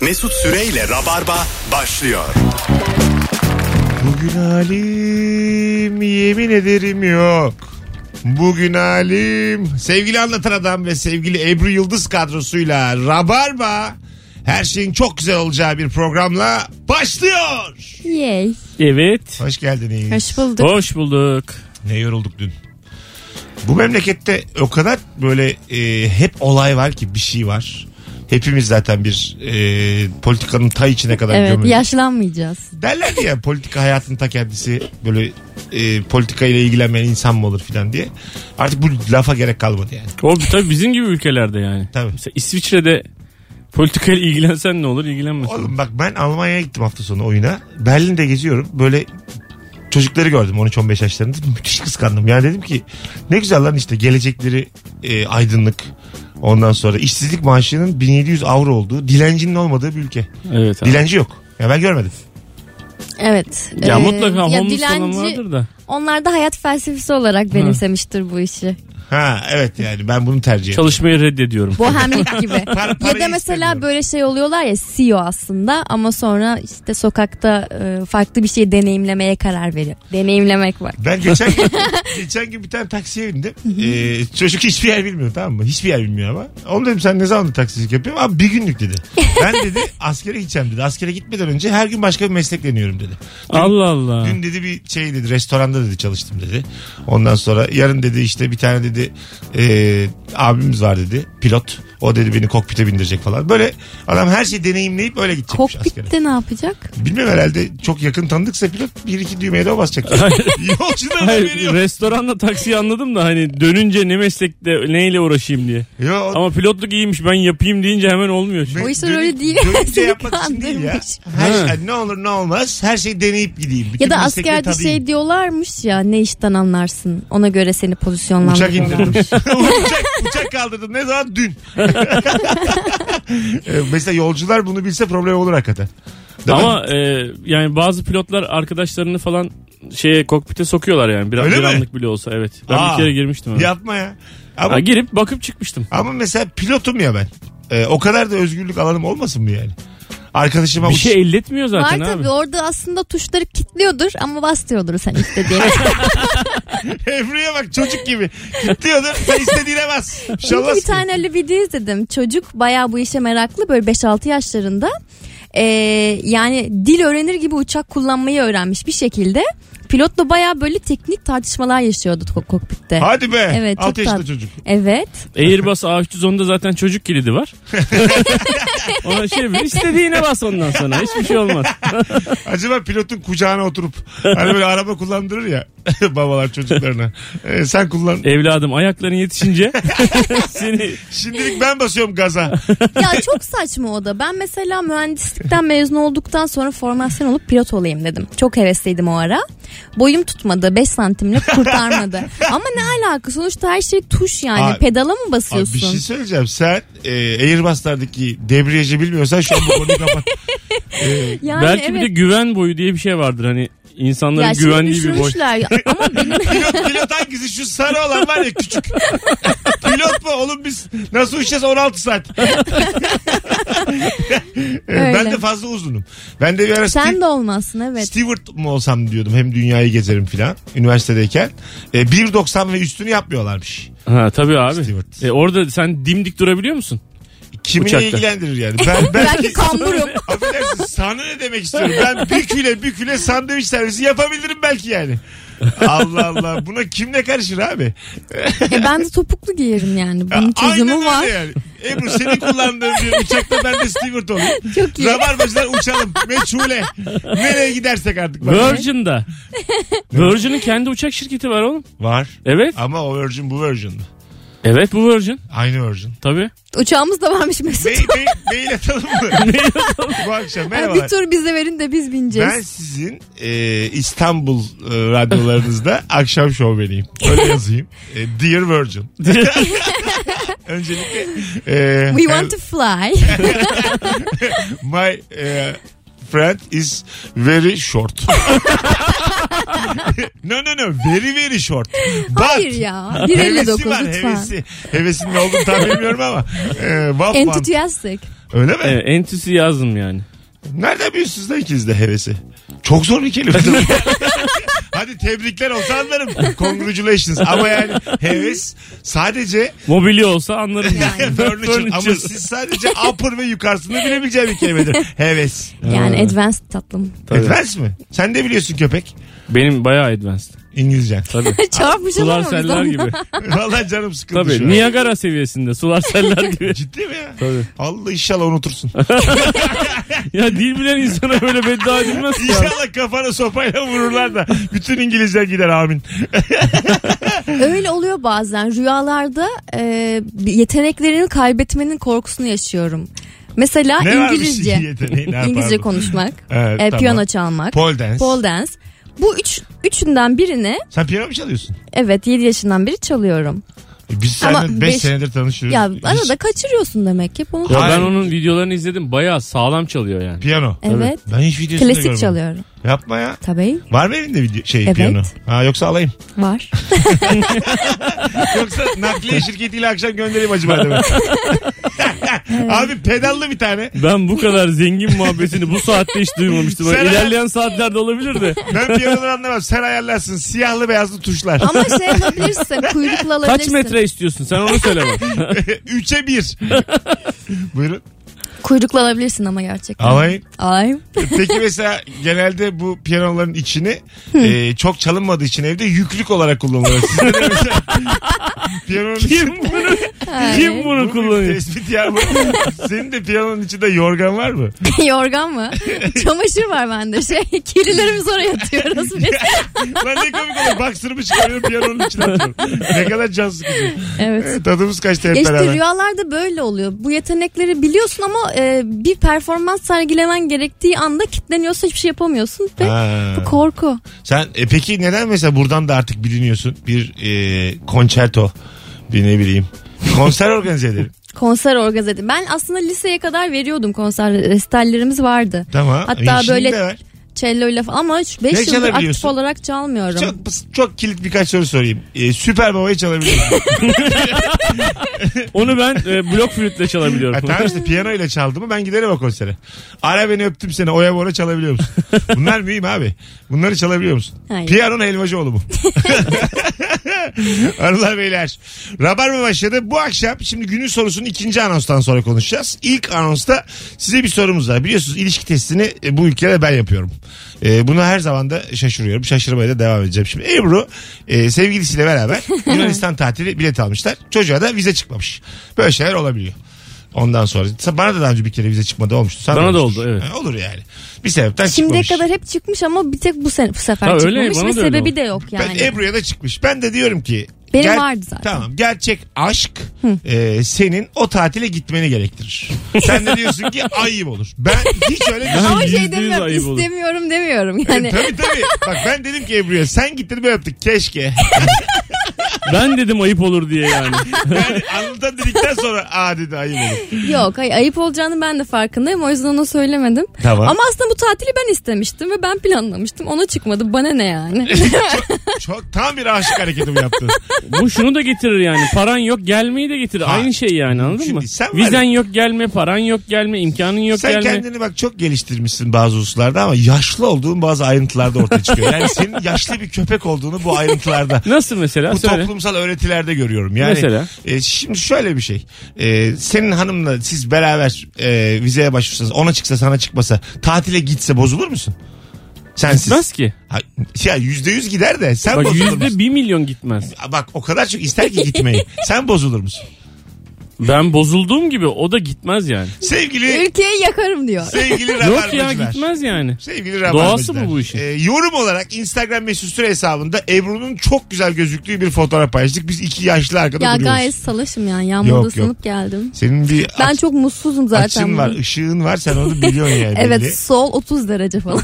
Mesut Süreyle Rabarba başlıyor. Bugün halim yemin ederim yok. Bugün halim. Sevgili anlatan adam ve sevgili Ebru Yıldız kadrosuyla Rabarba her şeyin çok güzel olacağı bir programla başlıyor. Yay. Evet. Hoş geldiniz. Hoş bulduk. Hoş bulduk. Ne yorulduk dün. Bu memlekette o kadar böyle e, hep olay var ki bir şey var. Hepimiz zaten bir e, politikanın ta içine kadar Evet gömülüyoruz. yaşlanmayacağız. Derler ya politika hayatın ta kendisi böyle e, politika ile ilgilenmeyen insan mı olur filan diye. Artık bu lafa gerek kalmadı yani. O tabii bizim gibi ülkelerde yani. Tabii. Mesela İsviçre'de politikayla ilgilensen ne olur ilgilenmesen. Oğlum bak ben Almanya'ya gittim hafta sonu oyuna. Berlin'de geziyorum. Böyle çocukları gördüm 13-15 yaşlarında. Müthiş kıskandım. Yani dedim ki ne güzel lan işte gelecekleri e, aydınlık. Ondan sonra işsizlik maaşının 1700 avro olduğu, dilencinin olmadığı bir ülke. Evet abi. Dilenci yok. Ya ben görmedim. Evet. ya Ee, mutlaka ya homeless falan dilenci- vardır da. Onlar da hayat felsefesi olarak benimsemiştir bu işi. Ha evet yani ben bunu tercih ettim. Çalışmayı reddediyorum. Bohemlik gibi. Para- ya da parayı mesela istemiyorum. böyle şey oluyorlar ya CEO aslında ama sonra işte sokakta e, farklı bir şey deneyimlemeye karar veriyor. Deneyimlemek var. Şey, Ben geçen gün, geçen gün bir tane taksiye bindim. Ee, çocuk hiçbir yer bilmiyor tamam mı? Hiçbir yer bilmiyor ama. Oğlum dedim sen ne zaman taksicilik yapıyorsun? Abi bir günlük dedi. Ben dedi askere gideceğim dedi. Askere gitmeden önce her gün başka bir meslekleniyorum dedi. Dün- Allah Allah. Dün dedi bir şey dedi restoranda dedi çalıştım dedi. Ondan sonra yarın dedi işte bir tane dedi e, abimiz var dedi pilot. O dedi beni kokpite bindirecek falan. Böyle adam her şeyi deneyimleyip öyle gidecekmiş askere. Kokpitte ne yapacak? Bilmem herhalde çok yakın tanıdıksa pilot bir iki düğmeye de o basacak. Yolcudan Hayır haberi yok. restoranla taksiyi anladım da hani dönünce ne meslekte neyle uğraşayım diye. Yo, o- Ama pilotluk iyiymiş ben yapayım deyince hemen olmuyor. çünkü. O işler Dönüp- öyle değil. Dönüp de Seni yapmak için değil ya. kandırmış. Her Ha. şey, ne olur ne olmaz her şeyi deneyip gideyim. Bütün Ya da meslekleri askerde tadayım. şey diyorlarmış ya ne işten anlarsın ona göre seni Uçak pozisyonlandırıyorlar. indirdim. uçak, uçak kaldırdım. Ne zaman? Dün. Ee, Mesela yolcular bunu bilse problem olur hakikaten. Değil mi? Ama e, yani bazı pilotlar arkadaşlarını falan şeye kokpite sokuyorlar yani. Bir, Öyle bir mi? anlık bile olsa evet. Ben Aa. bir kere girmiştim. öyle. Yapma ya. Ama, Ha, girip bakıp çıkmıştım. ama mesela pilotum ya ben. Ee, o kadar da özgürlük alanım olmasın mı yani? Arkadaşıma Bir uç- şey elletmiyor Var zaten abi. tabii orada aslında tuşları kilitliyordur ama bastırıyordur sen istediğini. Ebru'ya bak çocuk gibi. Gidiyordur. Sen istediğine bas. Bir şey olmaz Çünkü bir ki. tane öyle video izledim. Çocuk bayağı bu işe meraklı böyle 5-6 yaşlarında. Ee, yani dil öğrenir gibi uçak kullanmayı öğrenmiş bir şekilde. Pilotla bayağı böyle teknik tartışmalar yaşıyordu ko- kokpitte. Hadi be. Evet, çok Altı yaşında tatlı. çocuk. Evet. Airbus A310'da zaten çocuk kilidi var. Ona şey ver istediğine bas ondan sonra hiçbir şey olmaz. Acaba pilotun kucağına oturup hani böyle araba kullandırır ya babalar çocuklarına. Ee, sen kullan. Evladım ayakların yetişince seni Şimdilik ben basıyorum gaza. Ya çok saçma o da. Ben mesela mühendislikten mezun olduktan sonra formasyon olup pilot olayım dedim. Çok hevesliydim o ara. Boyum tutmadı. 5 santimle kurtarmadı. Ama ne alaka? Sonuçta her şey tuş yani. Abi- Pedala mı Abi basıyorsun? bir şey söyleyeceğim. Sen e, Airbus'lardaki debriyajı bilmiyorsan şu an bu konuyu kapat. yani belki bir evet. de güven boyu diye bir şey vardır hani insanların Ya şimdi güvendiği bir boy. düşürmüşler. Ama benim pilot, pilot hangisi? Şu sarı olan var ya küçük. pilot mu? Oğlum biz nasıl uçacağız 16 saat. E, ben Öyle. de fazla uzunum. Ben de bir ara sen Steve- de olmazsın evet. Stewart mu olsam diyordum hem dünyayı gezerim filan üniversitedeyken. E, 1.90 ve üstünü yapmıyorlarmış. Ha tabii abi. Stewart. E, orada sen dimdik durabiliyor musun? Kimini Uçakta. ilgilendirir yani. Ben, ben Belki kamburum. Affedersin sana ne demek istiyorum? Ben büküle büküle sandviç servisi yapabilirim belki yani. Allah Allah buna kim ne karışır abi? e ben de topuklu giyerim yani. Bunun Aynen çözümü öyle var. yani. Ebru senin kullandığın bir uçakta ben de Stewart olayım. Çok iyi. Rabarbacılar uçalım. Meçhule. Nereye gidersek artık. Var. Virgin'da. Virgin'in kendi uçak şirketi var oğlum. var. Evet. Ama o Virgin bu Virgin. Evet bu Virgin. Aynı Virgin. Tabii. Uçağımız da varmış Mesut. Mail, mail, mail atalım mı? bu akşam Ay, merhabalar. bir tur bize verin de biz bineceğiz. Ben sizin e, İstanbul e, radyolarınızda akşam şovbeniyim. Öyle yazayım. E, Dear Virgin. Öncelikle e, We want to fly. my e, friend is very short. no no no very very short. But Hayır ya. Hevesi 1.59 var lütfen. hevesi. Hevesinin ne olduğunu tam bilmiyorum ama. E, Waffman. Enthusiastic. Öyle mi? Evet, entüsiyazm E, yani. Nereden biliyorsunuz lan ikiniz de hevesi? Çok zor bir kelime. Hadi tebrikler olsa anlarım. Congratulations. Ama yani heves sadece Mobilya olsa anlarım. Yani. furniture. Ama Furniture. siz sadece upper ve yukarısını bilebileceğim bir kelimedir. Heves. Yani advanced tatlım. Advance mi? Sen de biliyorsun köpek. Benim bayağı advanced. İngilizcen. Tabii. Çarpmışım Sular ama biz seller ondan. gibi. Vallahi canım sıkıldı şu Tabii. an. Niagara seviyesinde sular seller gibi. Ciddi mi ya? Tabii. Allah inşallah unutursun. Ya dil bilen insana böyle beddua edilmez ki ya. İnşallah kafana sopayla vururlar da bütün İngilizler gider amin. Öyle oluyor bazen. Rüyalarda e, yeteneklerini kaybetmenin korkusunu yaşıyorum. Mesela Ne varmış İngilizce. yeteneğin? Ha, İngilizce pardon. konuşmak, Evet, e, tamam. piyano çalmak, Pole dance. pole dance. Bu üç üçünden birini Sen piyano mu çalıyorsun? evet 7 yaşından beri çalıyorum. E, Biz Ama seninle 5 beş- senedir tanışıyoruz. Ya Hiç- arada kaçırıyorsun demek ki bunu. Ya ben Hayır. onun videolarını izledim. Bayağı sağlam çalıyor yani. Piyano. Evet. Ben hiç videosunu da Klasik görmedim. çalıyorum. Yapma ya. Tabii Var mı elinde video, şey Evet. piyano? Ha, yoksa alayım. var. Yoksa nakliye şirketiyle akşam göndereyim acaba demek. Abi pedallı bir tane. Ben bu kadar zengin muhabbetini bu saatte hiç duymamıştım. Sen- İlerleyen saatlerde olabilir de. Ben piyanoları anlamam. Sen ayarlarsın. Siyahlı beyazlı tuşlar. Ama şey yapabilirsin kuyruklu alabilirsin. Kaç metre istiyorsun? Sen onu söyle bak. Üçe bir. Buyurun. Kuyruklu alabilirsin ama gerçekten. Alayım. Ay. Peki mesela genelde bu piyanoların içini e, çok çalınmadığı için evde yüklük olarak kullanılıyor. Sizde de mesela piyanonun Kim bunu, kim bunu kullanıyor? Tespit ya bu. Senin de piyanonun içinde yorgan var mı? Yorgan mı? Çamaşır var bende. Şey, kirlilerimizi oraya atıyoruz biz. Lan ne komik olur. Baksırımı çıkarıyorum piyanonun içine atıyorum. Ne kadar can sıkıcı. Evet. Evet, Tadımız kaçtı hep Ya işte beraber. rüyalarda böyle oluyor. Bu yetenekleri biliyorsun ama e, bir performans sergilemen gerektiği anda kitleniyorsa hiçbir şey yapamıyorsun ve Ha. bu korku. Sen e, peki neden mesela buradan da artık biliniyorsun? Bir e, konçerto bir ne bileyim. Konser organize edelim. Konser organize edin. Ben aslında liseye kadar veriyordum konser resitallerimiz vardı. Tamam. Hatta E, şimdi böyle- de var. Cello ile falan ama Ne 5 yıldır aktif çalabiliyorsun? olarak çalmıyorum. Çok, çok kilit birkaç soru sorayım. E, süper Baba'yı çalabilir miyim? Onu ben e, blok flütle çalabiliyorum. Ha, tamam işte piyanoyla çaldı mı ben giderim o konsere. Ara beni öptüm seni oya bora çalabiliyor musun? Bunlar mühim abi. Bunları çalabiliyor musun? Hayır. Piyanonun helvacıoğlu bu. Arılar beyler. Rabarba başladı. Bu akşam şimdi günün sorusunun ikinci anonstan sonra konuşacağız. İlk anonsta size bir sorumuz var. Biliyorsunuz ilişki testini e, bu ülkede ben yapıyorum. E, buna her zaman da şaşırıyorum. Şaşırmaya da devam edeceğim. Şimdi Ebru e, sevgilisiyle beraber Yunanistan tatili bilet almışlar. Çocuğa da vize çıkmamış. Böyle şeyler olabiliyor. Ondan sonra bana da daha önce bir kere vize çıkmadı olmuştu. Sana Bana da olmuştur. oldu, evet. Ha, Olur yani. Bir sebepten Şimdiye çıkmamış. kadar hep çıkmış ama bir tek bu, sene, bu sefer Ha, öyle, çıkmamış bana ve da öyle sebebi oldu. de yok yani. Ben Ebru'ya da çıkmış. Ben de diyorum ki. Benim vardı zaten. Tamam. Gerçek aşk e, senin o tatile gitmeni gerektirir. Sen de diyorsun ki ayıp olur. Ben hiç öyle düşünmüyorum. ama Yüzde şey yüz demiyorum ayıp olur. istemiyorum demiyorum yani. tabii tabii. Bak ben dedim ki Ebru'ya sen gittin böyle yaptık keşke. Ben dedim ayıp olur diye yani. Yani anlatan dedikten sonra aa dedi ayıp olur. Yok ay- ayıp olacağını ben de farkındayım o yüzden ona söylemedim. Tamam. Ama aslında bu tatili ben istemiştim ve ben planlamıştım. Ona çıkmadı bana ne yani. Çok tam bir aşık hareketi bu yaptın. Bu şunu da getirir yani. Paran yok gelmeyi de getirir. Aynı şey yani anladın Şimdi mı? sen var ya- Vizen yok gelme, paran yok gelme, imkanın yok Sen gelme. kendini bak çok geliştirmişsin bazı hususlarda ama yaşlı olduğun bazı ayrıntılarda ortaya çıkıyor. Yani senin yaşlı bir köpek olduğunu bu ayrıntılarda Nasıl mesela? bu Söyle. toplumsal öğretilerde görüyorum. Yani Mesela? e, şimdi şöyle bir şey. E, senin hanımla siz beraber e, vizeye başvursanız ona çıksa sana çıkmasa tatile gitse bozulur musun? Sensiz. Gitmez ki. Ha, ya yüzde yüz gider de sen Bak bozulur yüzde musun? bir milyon gitmez. Bak o kadar çok ister ki gitmeyi. sen bozulur musun? Ben bozulduğum gibi o da gitmez yani. Sevgili Ülkeyi yakarım diyor. sevgili Yok ya rabarbacılar. gitmez yani. Sevgili Rabarbacılar. Doğası bu bu işin. Ee, yorum olarak Instagram mesut süre hesabında Ebru'nun çok güzel gözüktüğü bir fotoğraf paylaştık. Biz iki yaşlı arkada Ya duruyoruz. gayet salaşım yani Yok, yağmurda yok. ısınıp geldim. Senin bir Ben aç- çok mutsuzum zaten. açın var, bugün. ışığın var. Sen onu biliyorsun yani. belli. Evet sol 30 derece falan.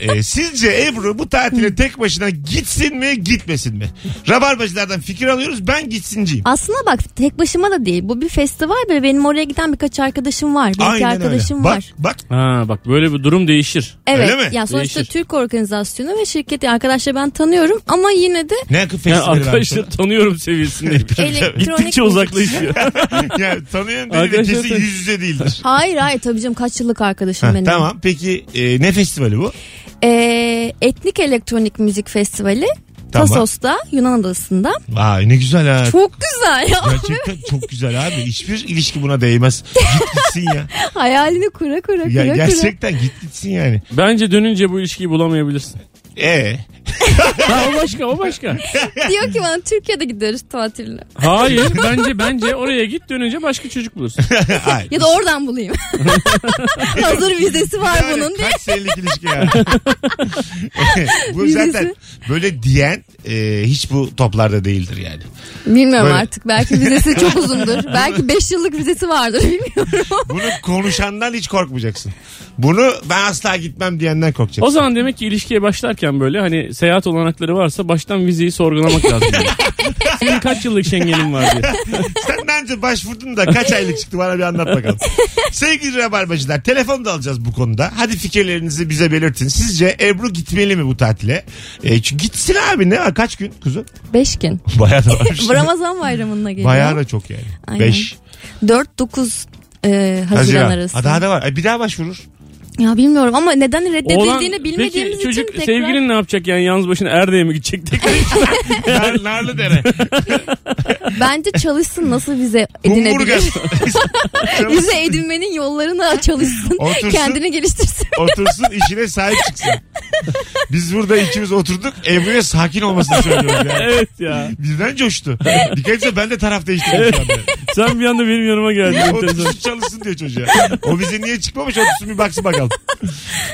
Ee, sizce Ebru bu tatile tek başına gitsin mi gitmesin mi? Rabarbacılardan fikir alıyoruz. Ben gitsinciyim. Aslında bak tek başıma da değil. Bu o bir festival ve benim oraya giden birkaç arkadaşım var. Bir iki arkadaşım Bak, var. bak Ha bak böyle bir durum değişir. Evet. Öyle mi? Ya sonuçta Değişir. Türk organizasyonu ve şirketi arkadaşları ben tanıyorum ama yine de ne akıl festivali vermiş Yani arkadaşlar ona. tanıyorum seviyesinde. elektronik Gittikçe müzik- uzaklaşıyor. ya tanıyorum dedi de Arkadaşlar kesin tanı- yüz yüze değildir. Hayır hayır tabii canım kaç yıllık arkadaşım Ha, benim. tamam peki e, ne festivali bu? Ee, Etnik Elektronik Müzik Festivali Tamam. Tasos'ta Yunan adasında. Vay ne güzel ha. Çok güzel ya. Gerçekten çok güzel abi. Hiçbir ilişki buna değmez. Git gitsin ya. Hayalini kura kura kura ya kura. gerçekten git gitsin yani. Bence dönünce bu ilişkiyi bulamayabilirsin. E Ha, o başka o başka. Diyor ki bana Türkiye'de gideriz tatiline. Hayır bence bence oraya git dönünce başka çocuk bulursun. ay. Ya da oradan bulayım. Hazır vizesi var Yani bunun diye. Kaç senelik ilişki ya. bu zaten Birisi. böyle diyen e, hiç bu toplarda değildir yani. Bilmiyorum Böyle. artık. Belki vizesi çok uzundur. Belki 5 yıllık vizesi vardır. Bilmiyorum. Bunu konuşandan hiç korkmayacaksın. Bunu ben asla gitmem diyenden korkacaksın. O zaman demek ki ilişkiye başlarken böyle hani seyahat olanakları varsa baştan vizeyi sorgulamak lazım. yani. Senin kaç yıllık şengenin var diye. Sen bence başvurdun da kaç aylık çıktı bana bir anlat bakalım. Sevgili Rabarbacılar telefon da alacağız bu konuda. Hadi fikirlerinizi bize belirtin. Sizce Ebru gitmeli mi bu tatile? E, çünkü gitsin abi ne var kaç gün kuzu? 5 gün. Bayağı da varmış. Bu Ramazan bayramına geliyor. Bayağı da çok yani. Aynen. 5 4-9 e, Haziran, arası. Ha, daha da var. Ay, bir daha başvurur. Ya bilmiyorum ama neden Oğlan- reddedildiğini bilmediğimiz peki, çocuk, için tekrar... sevgilin ne yapacak yani yalnız başına Erde'ye mi gidecek tekrar? Nar, narlı dere. Bence çalışsın nasıl vize edinebilir. Kumburgaz. vize edinmenin yollarına çalışsın. Otursun. Kendini geliştirsin. Otursun işine sahip çıksın. Biz burada ikimiz oturduk. Ebru'ya sakin olmasını söylüyoruz yani. evet ya. Birden coştu. Dikkat etse ben de taraf değiştirdim şu anda. Sen bir anda benim yanıma geldin. enteresan. Otursun çalışsın diyor çocuğa. O bize niye çıkmamış otursun bir baksın bakalım.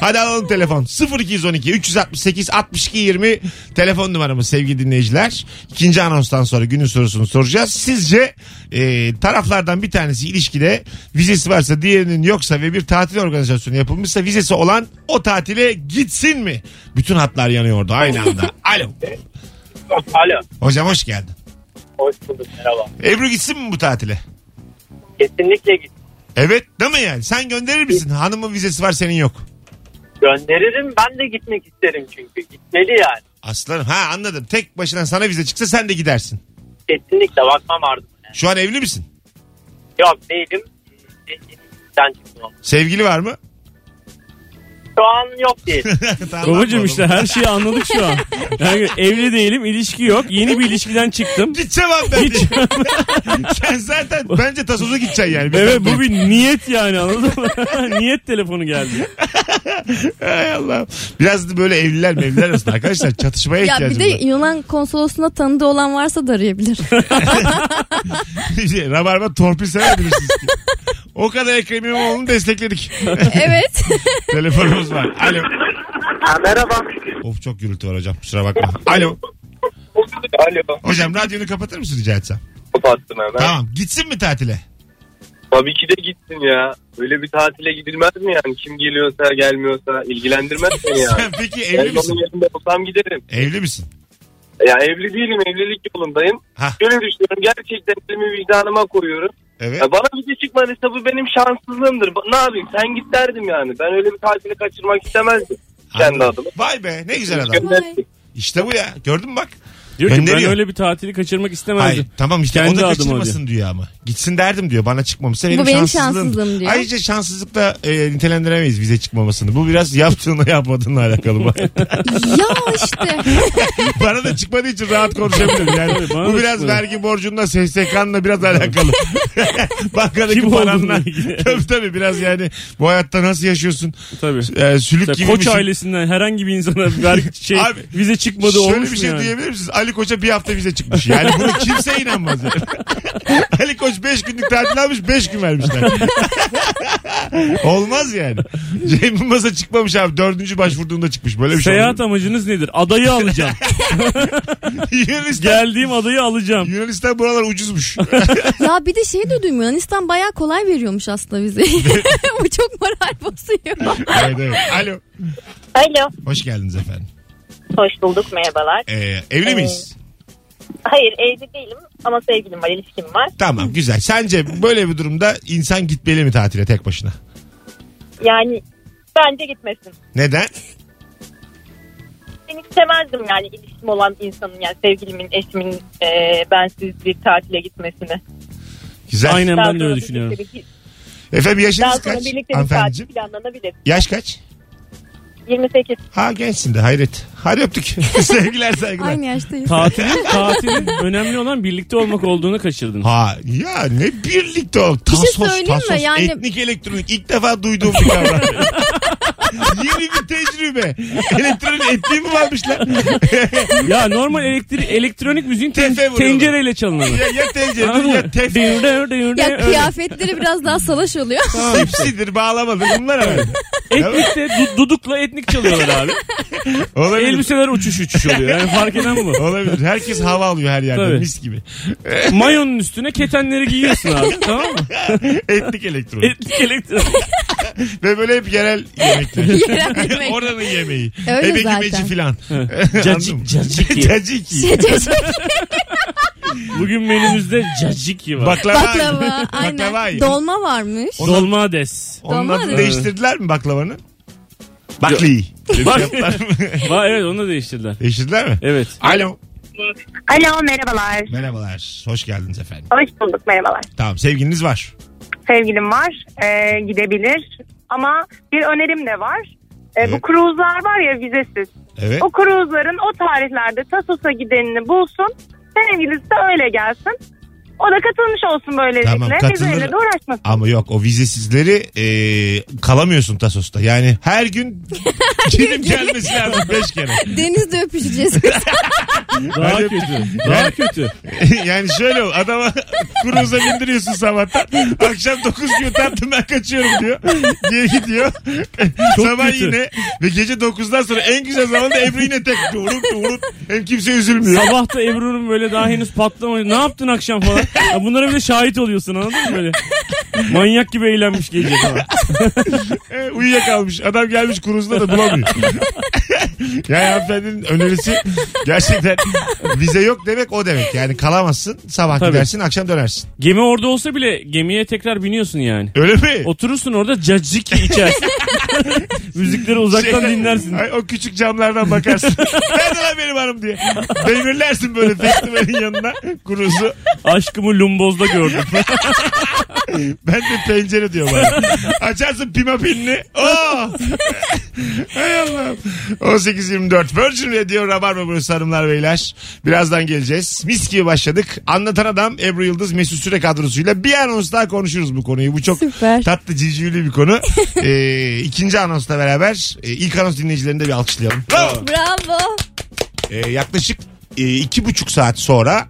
Hadi alalım telefon. 0212 368 62 20 telefon numaramız sevgili dinleyiciler. İkinci anonstan sonra günün sorusunu soracağız. Sizce e, taraflardan bir tanesi ilişkide vizesi varsa diğerinin yoksa ve bir tatil organizasyonu yapılmışsa vizesi olan o tatile gitsin mi? Bütün hatlar yanıyordu aynı anda. Alo. Alo. Hocam hoş geldin. Hoş bulduk. Merhaba. Ebru gitsin mi bu tatile? Kesinlikle git. Evet değil mi yani? Sen gönderir misin? Hanımın vizesi var senin yok. Gönderirim. Ben de gitmek isterim çünkü. Gitmeli yani. Aslanım ha anladım. Tek başına sana vize çıksa sen de gidersin. Kesinlikle bakmam ardına. Yani. Şu an evli misin? Yok değilim. Sen çıktım. Sevgili var mı? Şu an yok değil. Tamam, Babacım oğlum. işte her şeyi anladık şu an. Yani evli değilim, ilişki yok. Yeni bir ilişkiden çıktım. Gideceğim abi ben. Hiç- Sen zaten bence tasoza gideceksin yani. Biz Evet de- bu bir niyet yani anladın mı? niyet telefonu geldi. Hay Allah. Biraz da böyle evliler mevliler arasında arkadaşlar çatışmaya Ya bir ihtiyacım de var. Yunan konsolosluğunda tanıdığı olan varsa da arayabilir. Şey, Rabarba torpil sever bilirsiniz ki. O kadar Ekrem İmamoğlu'nu destekledik. evet. Telefonumuz var. Alo. ha, merhaba. Of çok gürültü var hocam kusura bakma. Alo. Alo. Hocam radyonu kapatır mısın rica etsem? Kapattım hemen. Tamam gitsin mi tatile? Tabii ki de gittin ya. Böyle bir tatile gidilmez mi yani? Kim geliyorsa gelmiyorsa ilgilendirmez mi yani? Sen peki evli Ben onun misin? yerinde olsam giderim. Evli misin? Ya evli değilim, evlilik yolundayım. Ha Gönül düşünüyorum, gerçekten elimi vicdanıma koyuyorum. evet. Ya bana bir de çıkmadıysa bu benim şanssızlığımdır. Ba- Ne yapayım sen git derdim yani. Ben öyle bir tatili kaçırmak istemezdim. Kendi Anladım. adıma. Vay be ne güzel adam. Gönderdik. İşte bu ya. Gördün mü bak. Diyor ki ben Gönderiyor. öyle bir tatili kaçırmak Hayır istemezdim. tamam işte Kendi o da adıma kaçırmasın diyor. ama. Gitsin derdim diyor bana çıkmamışsa benim, Bu benim şanssızlığım. şanssızlığım diyor. Ayrıca şanssızlıkla e, nitelendiremeyiz vize çıkmamasını. Bu biraz yaptığını yapmadığınla alakalı. bak. ya işte. bana da çıkmadığı için rahat konuşabilirim. Yani Tabii, bana bu da biraz çıkmadı. vergi borcunla SSK'nla biraz alakalı. Bankadaki Kim paranla. olduğunla ilgili. tabii tabii biraz yani bu hayatta nasıl yaşıyorsun? Tabii. E, sülük Mesela gibi koç misin? ailesinden herhangi bir insana vergi şey Abi, vize çıkmadı Şöyle olmuş bir şey mu yani? diyebilir misiniz? Ali Koç'a bir hafta vize çıkmış. Yani bunu kimse inanmaz. yani. Ali Koç 5 günlük tatil almış 5 gün vermişler. Olmaz yani. Cem Yılmaz'a çıkmamış abi. Dördüncü başvurduğunda çıkmış. Böyle bir Seyahat şey amacınız nedir? Adayı alacağım. olmuyor. Yunanistan, Geldiğim adayı alacağım. Yunanistan buralar ucuzmuş. Ya bir de şey de duydum Yunanistan bayağı kolay veriyormuş aslında vizeyi. Bu çok moral bozuyor. evet, evet. Alo. Alo. Hoş geldiniz efendim. Hoş bulduk merhabalar. Ee, evli miyiz? Hayır evli değilim ama sevgilim var ilişkim var. Tamam güzel. Sence böyle bir durumda insan gitmeli mi tatile tek başına? Yani bence gitmesin. Neden? Ben istemezdim yani ilişkim olan insanın yani sevgilimin eşimin e, bensiz bir tatile gitmesini. Güzel. Aynen Daha ben de sonra öyle birlikte düşünüyorum. bir- Efendim Daha yaşınız sonra kaç? birlikte bir tatil Hanımefendiciğim. planlanabilir. Yaş kaç? 28. Ha gençsin de hayret. Hadi öptük. Sevgiler saygılar. Aynı yaştayız. Tatilin, tatilin önemli olan birlikte olmak olduğunu kaçırdın. Ha ya ne birlikte ol. Tasos, şey söyleyeyim mi? tasos. Yani- Etnik elektronik ilk defa duyduğum bir kavram. Yeni bir tecrübe. Elektronik etniği mi varmış lan? ya normal elektri- elektronik müziğin ten- Tefe vuruyorlar. tencereyle çalınanı. ya, ya tencere Anladın mı? ya tefe. Dır dır dır Ya dır. kıyafetleri biraz daha salaş oluyor. Sipsidir bağlamadır bunlar herhalde. Etnik de du- dudukla etnik çalıyorlar abi. Olabilir. Elbiseler uçuş uçuş oluyor. Yani fark eden bu. Olabilir. Herkes hava alıyor her yerde Tabii. mis gibi. Mayonun üstüne ketenleri giyiyorsun abi. Tamam mı? Etnik elektronik. Etnik elektronik. Ve böyle hep yerel yemekler. Yerel yemek. Oranın yemeği. Öyle Ebeki zaten. meci filan. Anladın mı? Cacik, cacik ye. Caciki. Şey, Bugün menümüzde cacik ye var. Baklava. Baklava. Baklava Aynen. ye. Dolma varmış. Dolma des. Onun Dolma adını ne? değiştirdiler mi baklavanın? Bakli. Bak. Va, evet onu da değiştirdiler. Değiştirdiler mi? Evet. Alo. Alo merhabalar. Merhabalar. Hoş geldiniz efendim. Hoş bulduk merhabalar. Tamam sevgiliniz var. Sevgilim var e, gidebilir ama bir önerim de var. E, Bu Evet. kruzlar var ya vizesiz. Evet. O kruzların o tarihlerde Tasos'a gidenini bulsun. Sevgilisi de öyle gelsin. O da katılmış olsun Tamam, böylelikle. katılır. Bizeyle de uğraşmasın. Ama yok o vizesizleri e, kalamıyorsun Tasos'ta. Yani her gün gidip gelmesi lazım 5 kere. Denizde öpüşeceğiz. Daha Hadi. kötü. Daha kötü. yani şöyle ol, adama kuruza bindiriyorsun sabahtan. Akşam 9 diyor tatlım ben kaçıyorum diyor. Geri gidiyor. Sabah kötü. yine ve gece 9'dan sonra en güzel zamanda Ebru yine tek durup durup hem kimse üzülmüyor. Sabah da Ebru'nun böyle daha henüz patlamadı. Ne yaptın akşam falan? Ya bunlara bile şahit oluyorsun anladın mı böyle? Manyak gibi eğlenmiş gece falan. E, uyuyakalmış. Adam gelmiş kuruzda da bulamıyor. yani hanımefendinin önerisi gerçekten vize yok demek o demek. Yani kalamazsın sabah Tabii. gidersin akşam dönersin. Gemi orada olsa bile gemiye tekrar biniyorsun yani. Öyle mi? Oturursun orada cacik içersin. Müzikleri uzaktan Şey- Şeyden- dinlersin. Şey, Ay, o küçük camlardan bakarsın. Nerede lan benim hanım diye. Demirlersin böyle festivalin yanına kuruzu. Aşkımı lumbozda gördüm. Ben de pencere diyor bana. Açarsın pima pinini. Aa! Hay Allah'ım. 18.24 Virgin Radio Rabarba burası hanımlar beyler. Birazdan geleceğiz. Mis gibi başladık. Anlatan adam Ebru Yıldız Mesut Süre kadrosuyla bir anons daha konuşuruz bu konuyu. Bu çok Süper. tatlı civcivli bir konu. ee, ikinci anonsla beraber e, ilk anons dinleyicilerini de bir alkışlayalım. Bravo. Bravo. Ee, yaklaşık e, iki buçuk saat sonra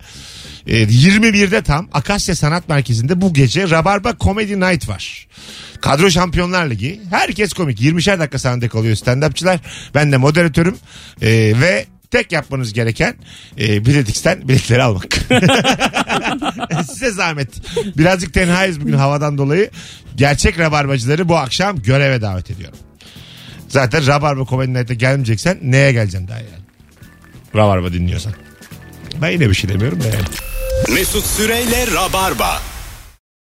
e, 21'de tam Akasya Sanat Merkezi'nde bu gece Rabarba Comedy Night var. Kadro Şampiyonlar Ligi. Herkes komik. 20'şer dakika sahnede kalıyor stand-upçılar. Ben de moderatörüm. E, ve tek yapmanız gereken e, biletiksten biletleri almak. Size zahmet. Birazcık tenhayız bugün havadan dolayı. Gerçek rabarbacıları bu akşam göreve davet ediyorum. Zaten Rabarba Comedy Night'a gelmeyeceksen neye geleceksin daha yani? Rabarba dinliyorsan. Ben yine bir şey demiyorum da yani. Mesut Süreyle Rabarba.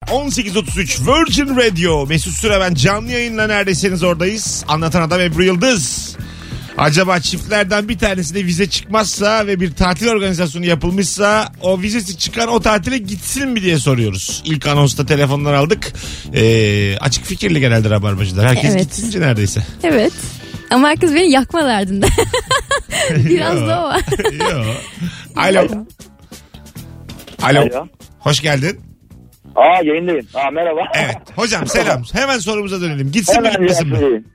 18.33 Virgin Radio. Mesut Süre ben canlı yayınla neredesiniz oradayız. Anlatan adam Ebru Yıldız. Acaba çiftlerden bir tanesine vize çıkmazsa ve bir tatil organizasyonu yapılmışsa o vizesi çıkan o tatile gitsin mi diye soruyoruz. İlk anonsta telefonlar aldık. Ee, açık fikirli genelde rabarbacılar. Herkes Evet. gitsince neredeyse. Evet. Ama herkes beni yakma derdinde. Biraz Yo. da o var. Yo. Alo. Alo. Alo. Hoş geldin. Aa yayındayım. Aa merhaba. Evet. Hocam selam. Hemen sorumuza dönelim. Gitsin mi Hemen gitmesin mi? yayındayım.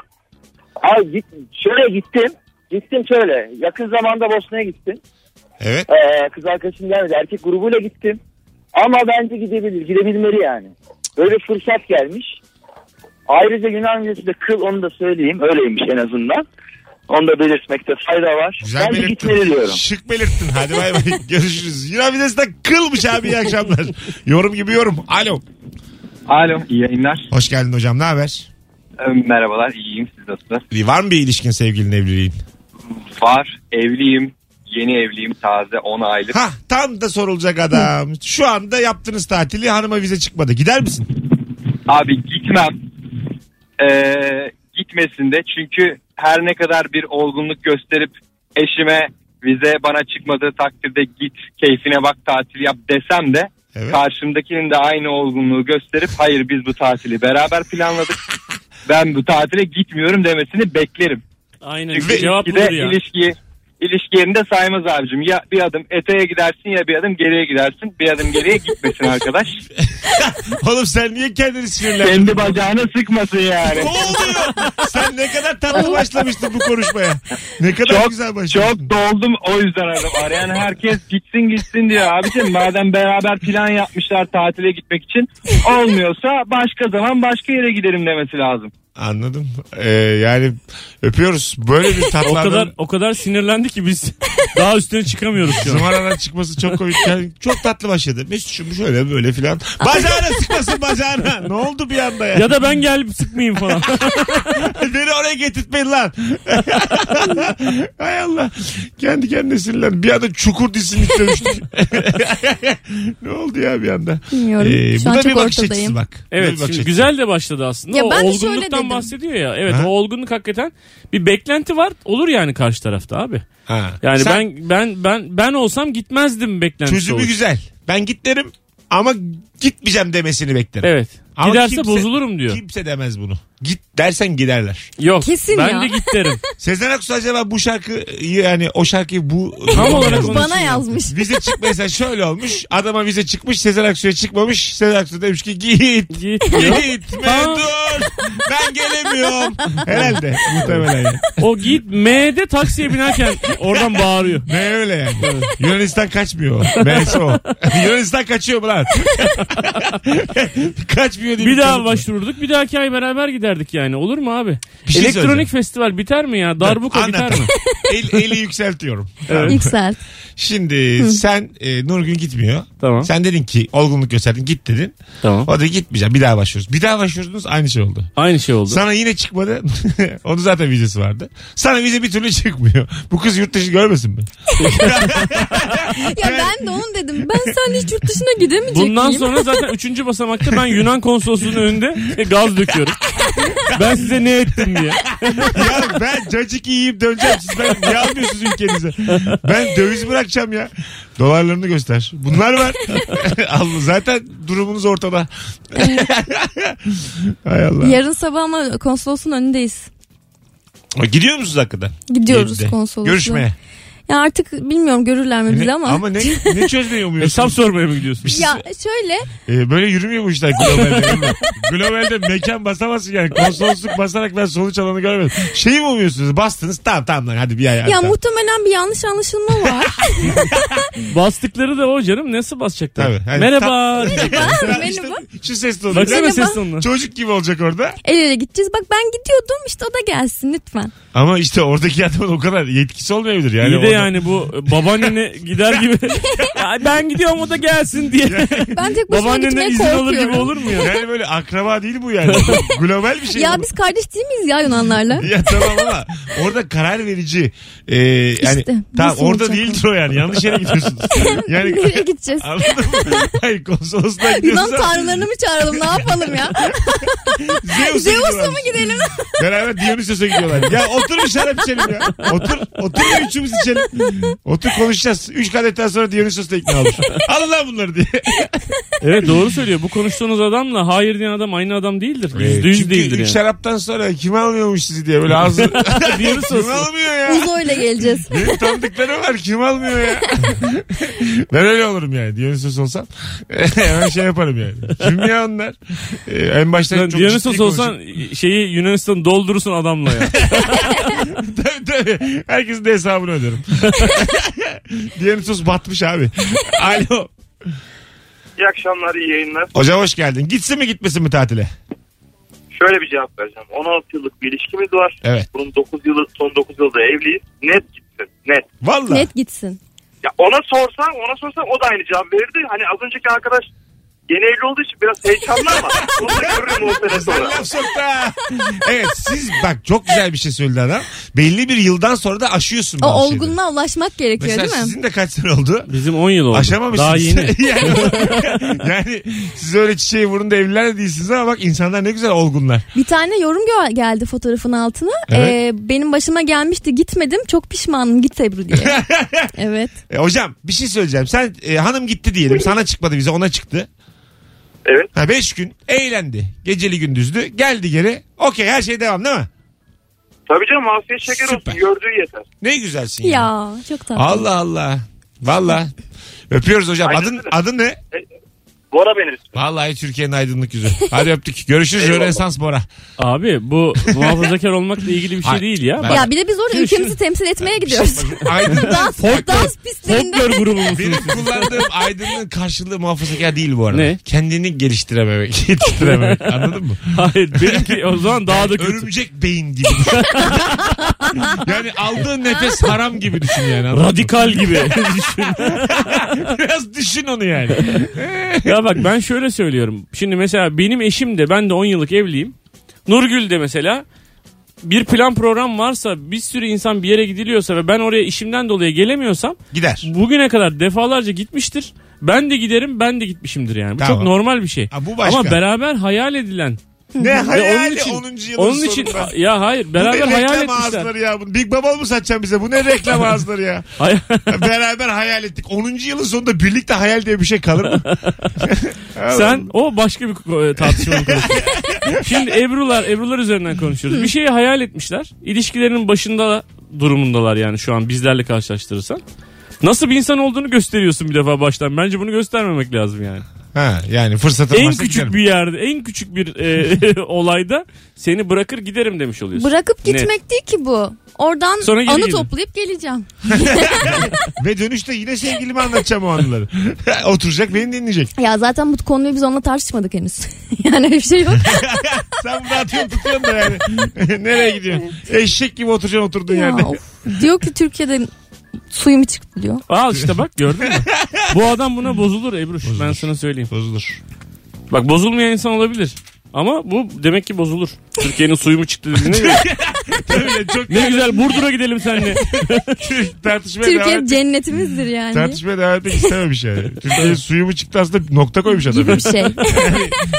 Ay git, şöyle gittim. Gittim şöyle. Yakın zamanda Bosna'ya gittim. Evet. Ee, kız arkadaşım gelmedi. Erkek grubuyla gittim. Ama bence gidebilir. Gidebilmeli yani. Böyle fırsat gelmiş. Ayrıca Yunan vizesi de kıl onu da söyleyeyim. Öyleymiş en azından. Onu da belirtmekte fayda var. Güzel bence gitmeli belirttin. diyorum. Şık belirttin. Hadi bay bay. Görüşürüz. Yunan vizesi de kılmış abi. İyi akşamlar. yorum gibi yorum. Alo. Alo iyi yayınlar. Hoş geldin hocam. Ne haber? Ee, Merhabalar iyiyim siz nasılsınız? Var mı bir ilişkin sevgilin evliliğin? Var evliyim. Yeni evliyim taze 10 aylık. Ha tam da sorulacak adam. Şu anda yaptığınız tatili hanıma vize çıkmadı. Gider misin? Abi gitmem. Ee, gitmesin de çünkü her ne kadar bir olgunluk gösterip eşime vize bana çıkmadığı takdirde git keyfine bak tatil yap desem de Evet. karşımdakinin de aynı olgunluğu gösterip hayır biz bu tatili beraber planladık. Ben bu tatile gitmiyorum demesini beklerim. Aynen. Çünkü Cevap ilişkide budur ya. ilişki ilişki yerinde saymaz abicim. Ya bir adım eteye gidersin ya bir adım geriye gidersin. Bir adım geriye gitmesin arkadaş. Oğlum sen niye kendini sinirlendin? Kendi bacağını sıkmasın yani. Ne oluyor? Sen ne kadar tatlı başlamıştın bu konuşmaya. Ne kadar Çok güzel çok başlamıştın. doldum o yüzden aradım. Arayan herkes gitsin gitsin diyor. Abicim madem beraber plan yapmışlar tatile gitmek için olmuyorsa başka zaman başka yere gidelim demesi lazım. Anladım. Ee, yani öpüyoruz. Böyle bir O tatlı kadar adamın o kadar sinirlendi ki biz daha üstüne çıkamıyoruz şu an. zımaradan çıkması çok komik. Yani çok tatlı başladı. Mesut'cum şöyle böyle filan. Bacağına sıkmasın bacağına. Ne oldu bir anda ya? Ya da ben gelip sıkmayayım falan. Beni oraya getirtmeyin lan. Hay Allah. Kendi kendine sinirlen. Bir anda çukur disinlik dönüştü. ne oldu ya bir anda? Ee, Bilmiyorum. Şu bu an da bir çok bakış açısı ortadayım. bak. Bu da bir Evet bakış şimdi açısı. güzel de başladı aslında. Ya o ben de şöyle olgunluktan dedim. bahsediyor ya. Evet Ha? o olgunluk hakikaten bir beklenti var. Olur yani karşı tarafta abi. Ha. Yani Sen- ben ben ben ben olsam gitmezdim beklentisi. Çözümü olur. güzel. Ben git derim ama gitmeyeceğim demesini beklerim. Evet. Ama Giderse kimse- bozulurum diyor. Kimse demez bunu. Git dersen giderler. Yok. Kesin ben ya. de git derim. Sezen Aksu acaba bu şarkı yani o şarkıyı bu Tam olarak onu Bana yazmış. Vize çıkmaysa şöyle olmuş. Adama vize çıkmış. Sezen Aksu'ya çıkmamış. Sezen Aksu demiş ki git. Git. diyor. Gitme Tamam. dur. Ben gelemiyorum. Herhalde. Muhtemelen yani. o git M'de taksiye binerken oradan bağırıyor. Ne öyle yani. Yunanistan kaçmıyor. Meğerse o. Yunanistan kaçıyor mu lan? kaçmıyor diye. şey Bir daha çocuk var. başvururduk. Bir dahaki ay beraber giderdik yani. Olur mu abi? Bir şey söyleyeceğim. Elektronik festival biter mi ya? Darbuka biter Anlat. mi? El, eli yükseltiyorum. Yükselt. Şimdi sen e, Nurgül gitmiyor. Tamam. Sen dedin ki olgunluk gösterdin git dedin. Tamam. O da gitmeyeceğim bir daha başvuruyoruz. Bir daha başvurdunuz aynı şey oldu. Aynı şey oldu. Sana yine çıkmadı. Onun zaten vizesi vardı. Sana vize bir türlü çıkmıyor. Bu kız yurt dışı görmesin mi? Ya ben de onu dedim. Ben sen hiç yurt dışına gidemeyecek Bundan miyim? sonra zaten 3. basamakta ben Yunan konsolosluğunun önünde e, gaz döküyorum. ben size ne ettim diye. ya ben cacık yiyip döneceğim. Siz ben niye almıyorsunuz ülkenize? Ben döviz bırakacağım ya. Dolarlarını göster. Bunlar var. Allah zaten durumunuz ortada. Hay Allah. Yarın sabah ama konsolosun önündeyiz. Gidiyor musunuz hakikaten? Gidiyoruz Yedide. konsolosluğa. Görüşmeye. Ya artık bilmiyorum görürler mi bizi ama. ne, ne çözmeyi Hesap umuyorsunuz? sormaya mı gidiyorsun? Ya e, şöyle Ee, böyle yürümüyor bu işler globalde. değil mi? globalde mekan basamazsın yani. Konsolosluk basarak ben sonuç alanı görmedim. Şeyi mi umuyorsunuz? Bastınız tamam tamam lan hadi bir ay. ya tamam. muhtemelen bir yanlış anlaşılma var. Bastıkları da o canım. Nasıl basacaklar? Tabii. hani Yani Merhaba. Şey, Ya Benim işte bu. şu ses tonu. Baksana Merhaba. ses tonuna. Çocuk gibi olacak orada. El ele gideceğiz. Bak ben gidiyordum işte o da gelsin lütfen. Ama işte oradaki adamın o kadar yetkisi olmayabilir. Yani İyi de orada- yani bu e, babaannene gider gibi. Ya ben gidiyorum o da gelsin diye. Ben tek başıma Babaannene gitmeye izin alır gibi korkuyorum. olur mu ya? Yani böyle akraba değil bu yani. Global bir şey. bu. Ya biz kardeş değil miyiz ya Yunanlarla? Ya tamam ama orada karar verici e, yani İşte, tamam nasıl orada olacak değildir o yani yanlış yere gidiyorsunuz. Yani Nereye gideceğiz? Anladın mı? Hayır konsolosluğa Yunan gidiyorsunuz. ama tanrılarını mı çağıralım ne yapalım ya? Zeus'a Zeus'la gidiyorlar. mı gidelim? Beraber Dionysos'a gidiyorlar. Ya otur bir şarap içelim ya. Otur, otur bir üçümüz içelim. Otur konuşacağız. Üç kadetten sonra Dionysos da ikna olur. Alın lan bunları diye. Evet doğru söylüyor. Bu konuştuğunuz adamla hayır diyen adam aynı adam değildir. Yüzde yüz Çünkü değildir ilk yani. şaraptan sonra kim almıyormuş sizi diye böyle ağzı. kim almıyor ya? Uzo'yla geleceğiz. Benim tanıdıklarım var kim almıyor ya? ben öyle olurum yani. Dionysos olsam hemen şey yaparım yani. Kim ya onlar? Ee, en başta Sen çok Dionysos ciddi olsan şeyi Yunanistan'ı doldurursun adamla ya. Tabii tabii. Herkesin de hesabını öderim. Dionysos batmış abi. Alo. İyi akşamlar, iyi yayınlar. Hocam hoş geldin. Gitsin mi gitmesin mi tatile? Şöyle bir cevap vereceğim. 16 yıllık bir ilişkimiz var. Evet. Bunun 9 yılı, son 9 yılda evliyiz. Net gitsin, net. Valla. Net gitsin. Ya ona sorsan, ona sorsan o da aynı cevap verirdi. Hani az önceki arkadaş Yeni evli olduğu için biraz heyecanlı ama onu da görürüm o sene Sen sonra. laf soktu ha. Evet siz bak çok güzel bir şey söyledi adam. Belli bir yıldan sonra da aşıyorsun O bazı şeyleri. olgunluğa ulaşmak gerekiyor Mesela değil mi? sizin de kaç sene oldu? Bizim 10 yıl oldu. Aşamamışsınız. Daha yeni. yani, yani siz öyle çiçeği vurun da evliler de değilsiniz ama bak insanlar ne güzel olgunlar. Bir tane yorum gö- geldi fotoğrafın altına. Evet. Ee, benim başıma gelmişti gitmedim çok pişmanım git Ebru diye. evet. E, hocam bir şey söyleyeceğim. Sen e, hanım gitti diyelim. Sana çıkmadı bize ona çıktı. Evet. Ha, beş gün eğlendi. Geceli gündüzlü. Geldi geri. Okey her şey devam değil mi? Tabii canım afiyet şeker Süper. olsun gördüğü yeter. Ne güzelsin ya. Ya çok tatlı. Allah Allah. Valla. Öpüyoruz hocam. Aynen Adın öyle. adın ne? Bora benim. Vallahi Türkiye'nin aydınlık yüzü. Hadi öptük. Görüşürüz. Eyvallah. Rönesans Bora. Abi bu muhafazakar olmakla ilgili bir şey Hayır, değil ya. ben- Bak, Ya bir de biz orada Şimdi- ülkemizi temsil etmeye gidiyoruz. Aydınlık. dans, dans pistlerinde. folklor grubu musunuz? Benim kullandığım aydınlığın karşılığı muhafazakar değil bu arada. Ne? Kendini geliştirememek, yetiştirememek. Anladın mı? Hayır benimki o zaman daha da kötü. Örümcek beyin gibi. yani aldığın nefes haram gibi düşün yani. anladın mı? Radikal gibi. Biraz düşün onu yani. ya bak ben şöyle söylüyorum. Şimdi mesela benim eşim de ben de 10 yıllık evliyim. Nurgül de mesela bir plan program varsa bir sürü insan bir yere gidiliyorsa ve ben oraya işimden dolayı gelemiyorsam Gider. bugüne kadar defalarca gitmiştir. Ben de giderim ben de gitmişimdir yani. Bu Tamam. çok normal bir şey. Ha, bu başka. Ama beraber hayal edilen. Ne ve hayal onun için, 10. yılın onun için sonunda. ya hayır Bu ne beraber hayal reklam etmişler. ağızları ya. Bu Big Bubble mı satacaksın bize? Bu ne reklam ağızları ya? Hayal- Beraber hayal ettik. 10. yılın sonunda birlikte hayal diye bir şey kalır mı? Sen o başka bir e, tartışmanın konusu. Şimdi Ebru'lar, Ebru'lar üzerinden konuşuyoruz. Bir şeyi hayal etmişler. İlişkilerinin başında durumundalar yani şu an bizlerle karşılaştırırsan. Nasıl bir insan olduğunu gösteriyorsun bir defa baştan. Bence bunu göstermemek lazım yani. Ha yani fırsatım en varsa küçük giderim. bir yerde, en küçük bir e, olayda seni bırakır giderim demiş oluyorsun. Bırakıp Net. gitmek değil ki bu. Oradan Sonra geri anı gidin. toplayıp geleceğim. Ve dönüşte yine sevgilime anlatacağım o anıları. Oturacak beni dinleyecek. Ya zaten bu konuyu biz onunla tartışmadık henüz. yani öyle bir şey yok. Sen bunu atıyorsun tutuyorsun da yani. Nereye gidiyorsun? Eşek gibi oturacaksın oturduğun ya, yerde. of. Diyor ki Türkiye'de suyum çıktı diyor. Al işte bak gördün mü? Bu adam buna bozulur Ebru. Ben sana söyleyeyim. Bozulur. Bak bozulmayan insan olabilir. Ama bu demek ki bozulur. Türkiye'nin suyu mu çıktı dediğine göre. Öyle çok Ne güzel Burdur'a gidelim seninle. tartışmaya devam Türkiye etmek, cennetimizdir yani. tartışmaya devam etmek istememiş yani. Türkiye'nin suyu mu çıktı aslında nokta koymuş adam. gibi şey. bir şey.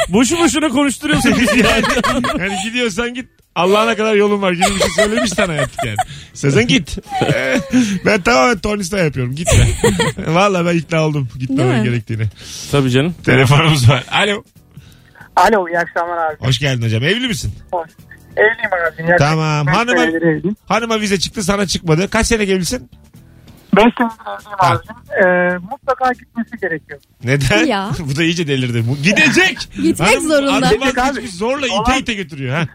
Boşu boşuna konuşturuyorsun bizi yani. Yani gidiyorsan git. Allah'ına kadar yolun var gibi bir şey söylemiş sana artık yani. Sezen git. ben tamamen Tony Stark yapıyorum. Gitme. Valla ben ikna oldum Değil gitmemen mi? gerektiğini. Tabii canım. Telefonumuz var. Alo. Alo iyi akşamlar abi. Hoş geldin hocam. Evli misin? Evliyim abicim. Yaklaşık Tamam. beş Hanıma, senedir evliyim. hanıma vize çıktı sana çıkmadı. Kaç sene evlisin? Ben senedir evliyim Ha. abicim. Ee, mutlaka gitmesi gerekiyor. Neden? Ya. Bu da iyice delirdi. Bu gidecek. Gitmek zorunda. Hanım Gidecek abi. vazgeçmiş, zorla ite Olan- ite götürüyor. Ha.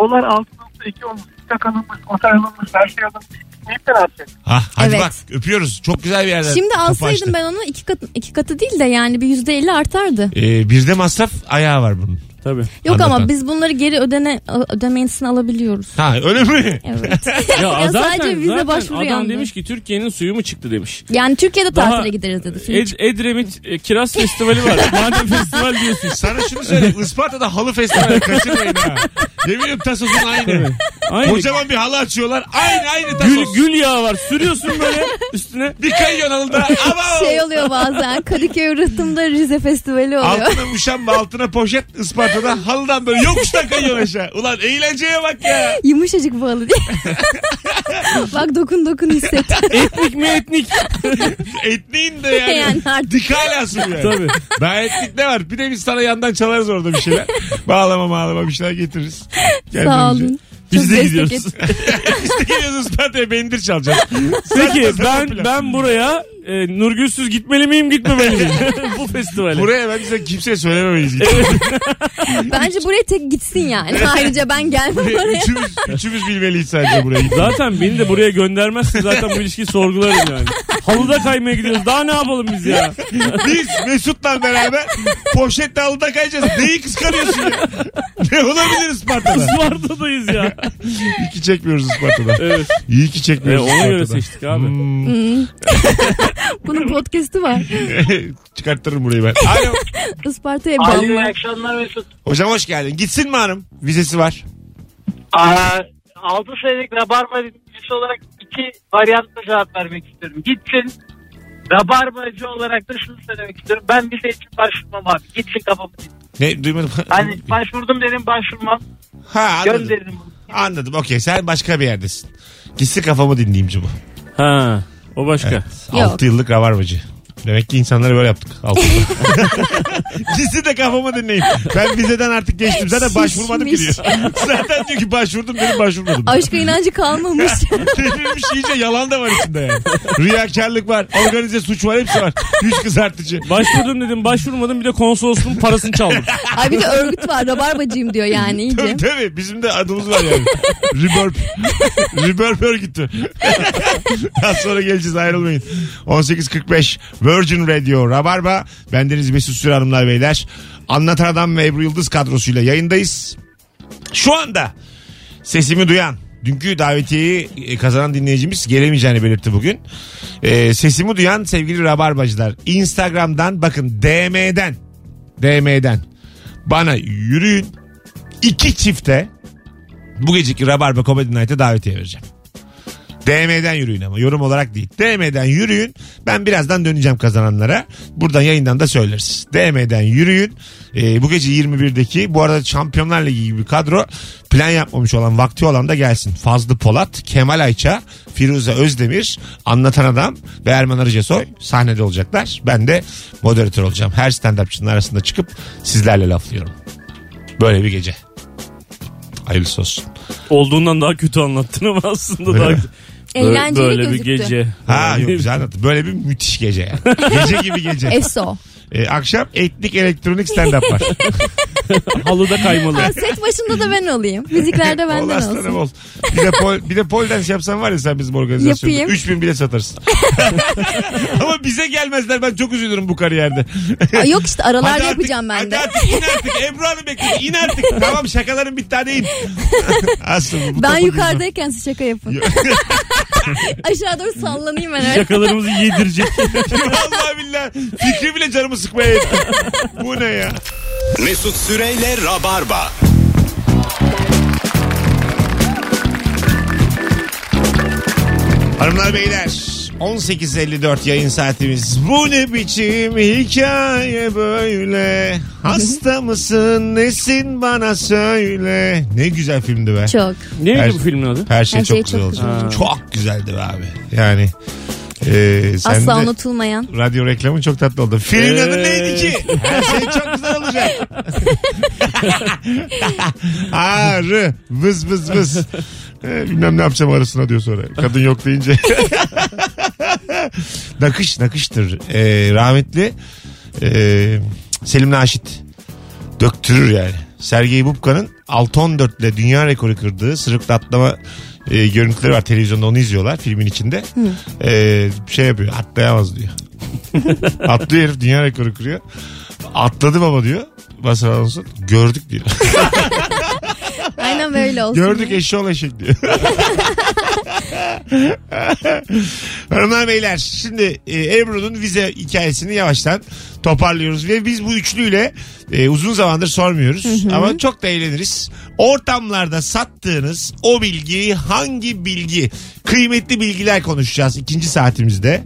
Dolar 6.2 olmuş. Uçak alınmış, otel alınmış, her şey alınmış. Gitmeyip de ne yapacak? Ha, hadi Evet. bak öpüyoruz. Çok güzel bir yerden. Şimdi kapı açtı. alsaydım ben onu iki katı, iki katı değil de yani bir yüzde elli artardı. Ee, bir de masraf ayağı var bunun. Tabii. Yok Anlatan. ama biz bunları geri ödene, ödemesini alabiliyoruz. Ha öyle mi? Evet. Ya, sadece vize başvuru adam yandı. demiş ki Türkiye'nin suyu mu çıktı demiş. Yani Türkiye'de Daha- tatile gideriz dedi. Suyu Ed- Edremit e, Kiraz Festivali var. Madem festival diyorsun. Sana şunu söyleyeyim. Isparta'da halı festivali kaçırmayın ha. Yeminim tasos'un aynı. Aynı. Kocaman bir halı açıyorlar. Aynı aynı tasos. Gül, gül yağı var. Sürüyorsun böyle üstüne. Bir kayıyorsun halıda. Ama şey oluyor bazen Kadıköy Rıhtım'da Rize Festivali oluyor. Altına muşamba altına poşet Isparta'da halıdan böyle yokuştan kayıyorsun aşağı. Ulan eğlenceye bak ya. Yumuşacık balı diye. Bak dokun dokun hisset. Etnik mi etnik? Etniğin de yani. Yani artık. Dikalası bu yani. Tabii. Daha etnik ne var? Bir de biz sana yandan çalarız orada bir şeyler. Bağlama bağlama bir şeyler getiririz. Sağ Kendimize. olun. Biz Çok de destek gidiyoruz. et. Biz de geliyoruz Isparta'ya bendir çalacağız. Peki Saçma sapan ben plan. ben buraya e, Nurgülsüz gitmeli miyim gitmemeli miyim? Bu festivale. Buraya bence kimseye söylememeliyiz. Bence buraya tek gitsin yani. Ayrıca ben gelmem oraya. üçümüz, üçümüz bilmeliyiz sadece buraya. Zaten beni de buraya göndermezse zaten bu ilişkiyi sorgularım yani. Halıda kaymaya gidiyoruz. Daha ne yapalım biz ya? Biz Mesut'la beraber poşetle alıda kayacağız. Neyi kıskanıyorsun ya? Ne olabilir Isparta'da? Isparta'dayız ya. İyi ki çekmiyoruz Isparta'da. Evet. İyi ki çekmiyoruz Hmm. E, ona göre Isparta'da. seçtik abi. Hmm. Bunun podcast'i var. Hmm. Çıkarttırırım burayı ben. Alo. Isparta'ya Ali iyi bağlı. akşamlar Mesut. Hocam hoş geldin. Gitsin mi hanım? Vizesi var. Aa, 6 senelik Rabarba dinleyicisi olarak iki varyantla cevap vermek istiyorum. Gitsin. Rabarbacı olarak da şunu söylemek istiyorum. Ben vize için başvurmam abi. Gitsin kafamı. Ne duymadım. Hani başvurdum dedim başvurmam. ha, anladım. Gönderirim bunu. Anladım. Okey sen başka bir yerdesin. Gitsin kafamı dinleyeyimci bu. Ha. O başka. 6 yıllık rabarbacı. Demek ki insanları böyle yaptık. Altı yıllık. Gitsin de kafamı dinleyin. Ben vizeden artık geçtim. Zaten başvurmadım ki diyor. Zaten diyor ki başvurdum benim başvurmadım. Aşka inancı kalmamış. Delirmiş iyice yalan da var içinde yani. Riyakarlık var. Organize suç var. Hepsi var. Yüz kızartıcı. Başvurdum dedim başvurmadım bir de konsolosluğun parasını çaldım. Ay bir de örgüt var. Rabarbacıyım diyor yani iyice. Tabii tabii. Bizim de adımız var yani. Rebirth. Rebirth örgütü. Az sonra geleceğiz ayrılmayın. 18.45 Virgin Radio Rabarba. Bendeniz Mesut Süre Hanımlar Beyler. Anlatan Adam ve Ebru Yıldız kadrosuyla yayındayız. Şu anda sesimi duyan Dünkü davetiyeyi e, kazanan dinleyicimiz gelemeyeceğini belirtti bugün. E, sesimi duyan sevgili rabarbacılar Instagram'dan bakın DM'den DM'den bana yürüyün iki çifte bu geceki Rabarba Comedy Night'e davetiye vereceğim. DM'den yürüyün ama yorum olarak değil. DM'den yürüyün. Ben birazdan döneceğim kazananlara. Buradan yayından da söyleriz. DM'den yürüyün. Ee, bu gece 21'deki bu arada Şampiyonlar Ligi gibi bir kadro plan yapmamış olan vakti olan da gelsin. Fazlı Polat, Kemal Ayça, Firuze Özdemir, Anlatan Adam ve Erman Arıcasoy sahnede olacaklar. Ben de moderatör olacağım. Her stand-upçının arasında çıkıp sizlerle laflıyorum. Böyle bir gece. Hayırlısı olsun. Olduğundan daha kötü anlattın ama aslında daha Öyle mi? Eğlenceli böyle gözüktü. bir gece. Ha yok güzel anlattın. Böyle bir müthiş gece yani. Gece gibi gece. ESO. Ee, akşam etnik elektronik stand-up var. Halıda kaymalı. Ha, set başında da ben olayım. Müziklerde Ol benden aslanım olsun. ol. Bir de, pol, bir de pole dance yapsan var ya sen bizim organizasyonda. Yapayım. 3000 bile satarız. Ama bize gelmezler ben çok üzülürüm bu kariyerde. Aa, yok işte aralarda Hadi artık- yapacağım ben de. Hadi artık in artık. Ebru Hanım bekliyor. İn artık. tamam şakaların bir tane in. Aslında bu Ben topa yukarıdayken siz şaka yapın. girmem. Aşağı doğru sallanayım ben. öyle. Şakalarımızı yedirecek. Vallahi billahi. Fikri bile canımı sıkmaya yetti. Bu ne ya? Mesut Süreyle Rabarba. Hanımlar beyler 18.54 yayın saatimiz. Bu ne biçim hikaye böyle? Hasta mısın nesin bana söyle. Ne güzel filmdi be. Çok. Neydi Her- bu filmin adı? Her şey Her çok şey güzel çok olacak. güzel. Çok güzeldi be abi. Yani e, sen Asla de unutulmayan. radyo reklamı çok tatlı oldu. Filmin adı Ee. neydi ki? Her şey çok güzel olacak. Ağrı vız vız vız. Ee, Bilmem ne yapacağım arasına diyor sonra. Kadın yok deyince. nakış nakıştır. Ee, rahmetli ee, Selim Naşit. Döktürür yani. Sergey Bubka'nın 6.14 ile dünya rekoru kırdığı sırıkla atlama e, görüntüleri var. Televizyonda onu izliyorlar filmin içinde. Ee, şey yapıyor atlayamaz diyor. Atlıyor herif dünya rekoru kırıyor. Atladı baba diyor. Basar Alonso. Gördük diyor. Aynen böyle olsun. Gördük eşşoğlu eşek diyor. Hanımlar beyler şimdi e, Ebru'nun vize hikayesini yavaştan toparlıyoruz ve biz bu üçlüyle e, uzun zamandır sormuyoruz ama çok da eğleniriz. Ortamlarda sattığınız o bilgi hangi bilgi? Kıymetli bilgiler konuşacağız ikinci saatimizde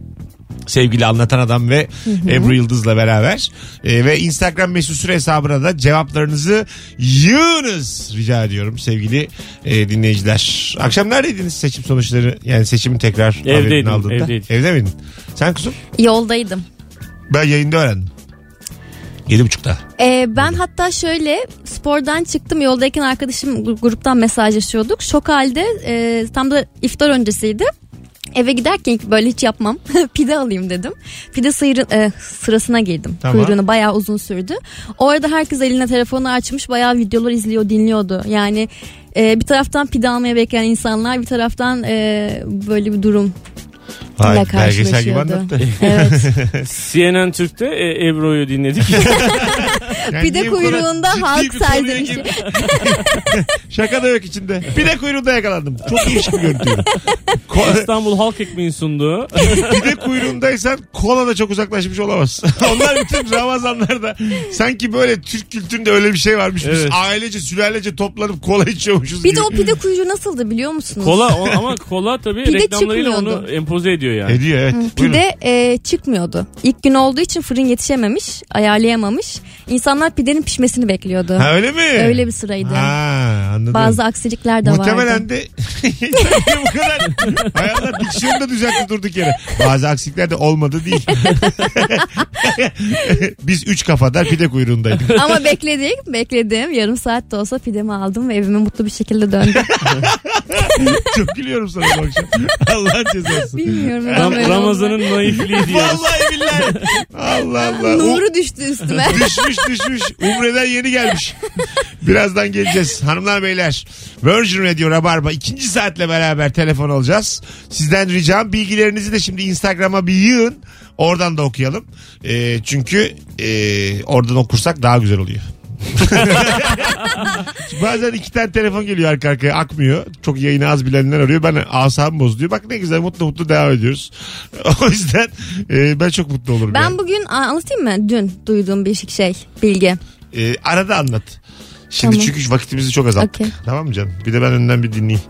sevgili anlatan adam ve Ebru Yıldız'la beraber. Ee, ve Instagram mesut süre hesabına da cevaplarınızı yığınız rica ediyorum sevgili e, dinleyiciler. Akşam neredeydiniz seçim sonuçları yani seçimin tekrar Evdeydim, haberini aldığında? evdeydim. Evde miydin? Sen kuzum? Yoldaydım. Ben yayında öğrendim. Yedi buçukta. Ee, ben hatta şöyle spordan çıktım yoldayken arkadaşım gru- gruptan mesajlaşıyorduk. Şok halde e, tam da iftar öncesiydi. Eve giderken ki böyle hiç yapmam. Pide alayım dedim. Pide sıyrı, e, sırasına girdim. Tamam. Kuyruğunu bayağı uzun sürdü. Orada herkes eline telefonu açmış bayağı videolar izliyor dinliyordu. Yani e, bir taraftan pide almaya bekleyen insanlar bir taraftan e, böyle bir durum. Vay, karşılaşıyordu. anlattı. Evet. CNN Türk'te e, Ebru'yu dinledik. Yani Pide niye bu kadar kuyruğunda ciddi halk bir konuya serzenişi. girdik? Şaka da yok içinde. Pide kuyruğunda yakalandım. Çok değişik bir görüntüydü. Ko- İstanbul Halk Ekmeği'nin sunduğu. Pide kuyruğundaysan kola da çok uzaklaşmış olamazsın. Onlar bütün Ramazanlarda sanki böyle Türk kültüründe öyle bir şey varmış. Biz Evet. ailece sülalece toplanıp kola içiyormuşuz Bir gibi. de o pide kuyruğu nasıldı biliyor musunuz? Kola o- ama kola tabii Pide reklamlarıyla onu çıkmıyordu. empoze ediyor yani. Hediye evet. Buyurun. Pide e, çıkmıyordu. İlk gün olduğu için fırın yetişememiş, ayarlayamamış. İnsanlar pidenin pişmesini bekliyordu. Ha öyle mi? Öyle bir sıraydı. Ha anladım. Bazı aksilikler de vardı. Muhtemelen de Niye bu kadar hayatlar diksiyonu da düzeltti durduk yere. Bazı aksilikler de olmadı değil. Biz üç kafadar pide kuyruğundaydık. Ama bekledik, bekledim. Yarım saat de olsa pidemi aldım ve evime mutlu bir şekilde döndüm. Çok gülüyorum sana bu akşam. Allah'ın cezası. Bilmiyorum. neden Ram- böyle oldu. Ramazan'ın naifliği diyor. Vallahi billahi. Allah Allah. Nuru düştü üstüme. düşmüş düşmüş. Umre'den yeni gelmiş. Birazdan geleceğiz. Hanımlar beyler. Virgin Radio Rabarba ikinci saatle beraber telefon alacağız. Sizden ricam bilgilerinizi de şimdi Instagram'a bir yığın. Oradan da okuyalım. Ee, çünkü e, oradan okursak daha güzel oluyor. Bazen iki tane telefon geliyor arka arkaya akmıyor. Çok yayını az bilenler arıyor. Ben asabım bozuluyor. Bak ne güzel mutlu mutlu devam ediyoruz. o yüzden e, ben çok mutlu olurum. yani. Ben bugün aa, anlatayım mı? Dün duyduğum bir şey, bilgi. Ee, arada anlat. Şimdi Tamam. çünkü vakitimizi çok azalttık. Okey. Tamam mı canım? Bir de ben önden bir dinleyeyim.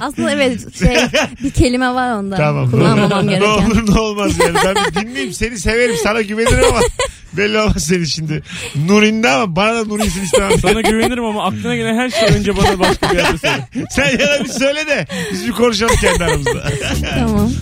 Aslında evet şey bir kelime var onda. Tamam. Kullanmamam ne gereken. olur ne olmaz yani. Ben bir dinleyeyim. Seni severim. Sana güvenirim ama belli olmaz seni şimdi. Nurinde ama bana da Nuri'sin istemem. Sana güvenirim ama aklına gelen her şey önce bana başka bir yerde söyle. Sen yana bir söyle de biz bir konuşalım kendi aramızda. Tamam.